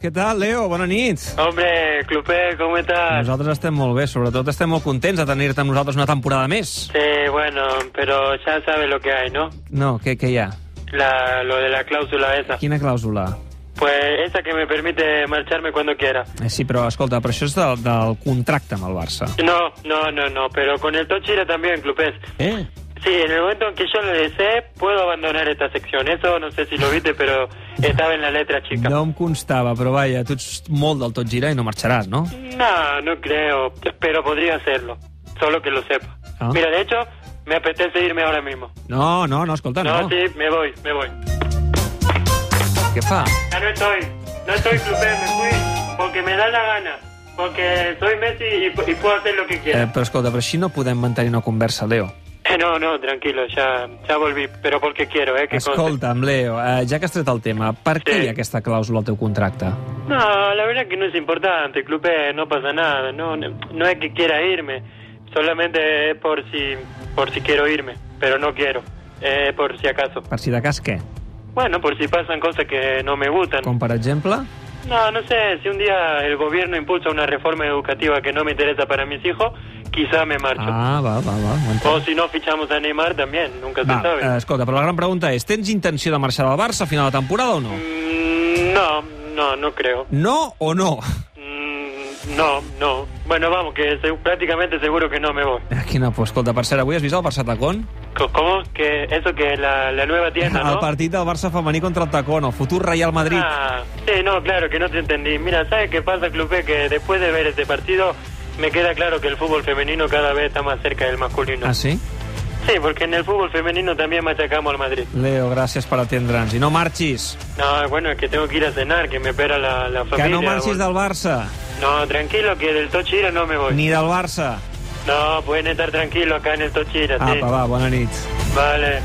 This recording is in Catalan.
Què tal, Leo? Bona nit. Hombre, Cluper, ¿cómo estás? Nosaltres estem molt bé, sobretot estem molt contents de tenir-te amb nosaltres una temporada més. Sí, bueno, pero ya sabes lo que hay, ¿no? No, què, què hi ha? La, lo de la cláusula esa. Quina clàusula? Pues esa que me permite marcharme cuando quiera. Eh, sí, però escolta, però això és del, del contracte amb el Barça. No, no, no, no, pero con el Tochira también, Clupés. Eh? Sí, en el momento en que yo lo desee, puedo abandonar esta sección. Eso no sé si lo viste, pero estaba en la letra chica. No em constava, però vaja, tu ets molt del tot gira i no marxaràs, no? No, no creo, pero podría hacerlo. Solo que lo sepa. Ah. Mira, de hecho, me apetece irme ahora mismo. No, no, no, escolta, Ah, no. No, sí, me voy, me voy. Què fa? Ya no estoy, no estoy Clupés, me fui porque me da la gana. Porque soy Messi y, y puedo hacer lo que quiera. Eh, però escolta, però així no podem mantenir una conversa, Leo. Eh, no, no, tranquilo, ya, ya volví, pero porque quiero, ¿eh? Que conste. Escolta'm, Leo, eh, ja que has tret el tema, per què Sí. hi ha aquesta clàusula al teu contracte? No, la verdad que no es importante, Clupe, no pasa nada, no, no no es que quiera irme, solamente es por si, por si quiero irme, pero no quiero, eh, por si acaso. Per si de cas què? Bueno, por si pasan cosas que no me gustan. Com per exemple? No, no sé, si un día el gobierno impulsa una reforma educativa que no me interesa para mis hijos, quizá me marcho. Ah, va, va, va. ho entenc. O si no fichamos a Neymar también, nunca Va, se sabe. eh, escolta, però la gran pregunta és, tens intenció de marxar del Barça a final de temporada o no? Mm, No, no, no creo. No o no? Mm, No, no. Bueno, vamos, que se- prácticamente seguro que no me voy. Eh, Quina por. Escolta, per cert, avui has vist el Barça Tacón? Co- ¿Cómo? Que eso que la, la nueva tienda, El Ah, ¿no? partit del Barça femení contra el Tacón, el futur Real Madrid. Ah, sí, no, claro, que no te entendí. Mira, ¿sabes qué pasa, Clupe? Que después de ver este partido me queda claro que el fútbol femenino cada vez está más cerca del masculino. Ah, sí? Sí, porque en el fútbol femenino también machacamos al Madrid. Leo, gràcies per atendre'ns. I no marxis, No, bueno, es que tengo que ir a cenar, que me espera la, la familia. que no marxis bueno. del Barça, No, tranquilo, que del Tochira no me voy. ni del Barça. Ah, No, pueden estar tranquilos acá en el Tochira, sí. Apa, va, bona nit. Vale.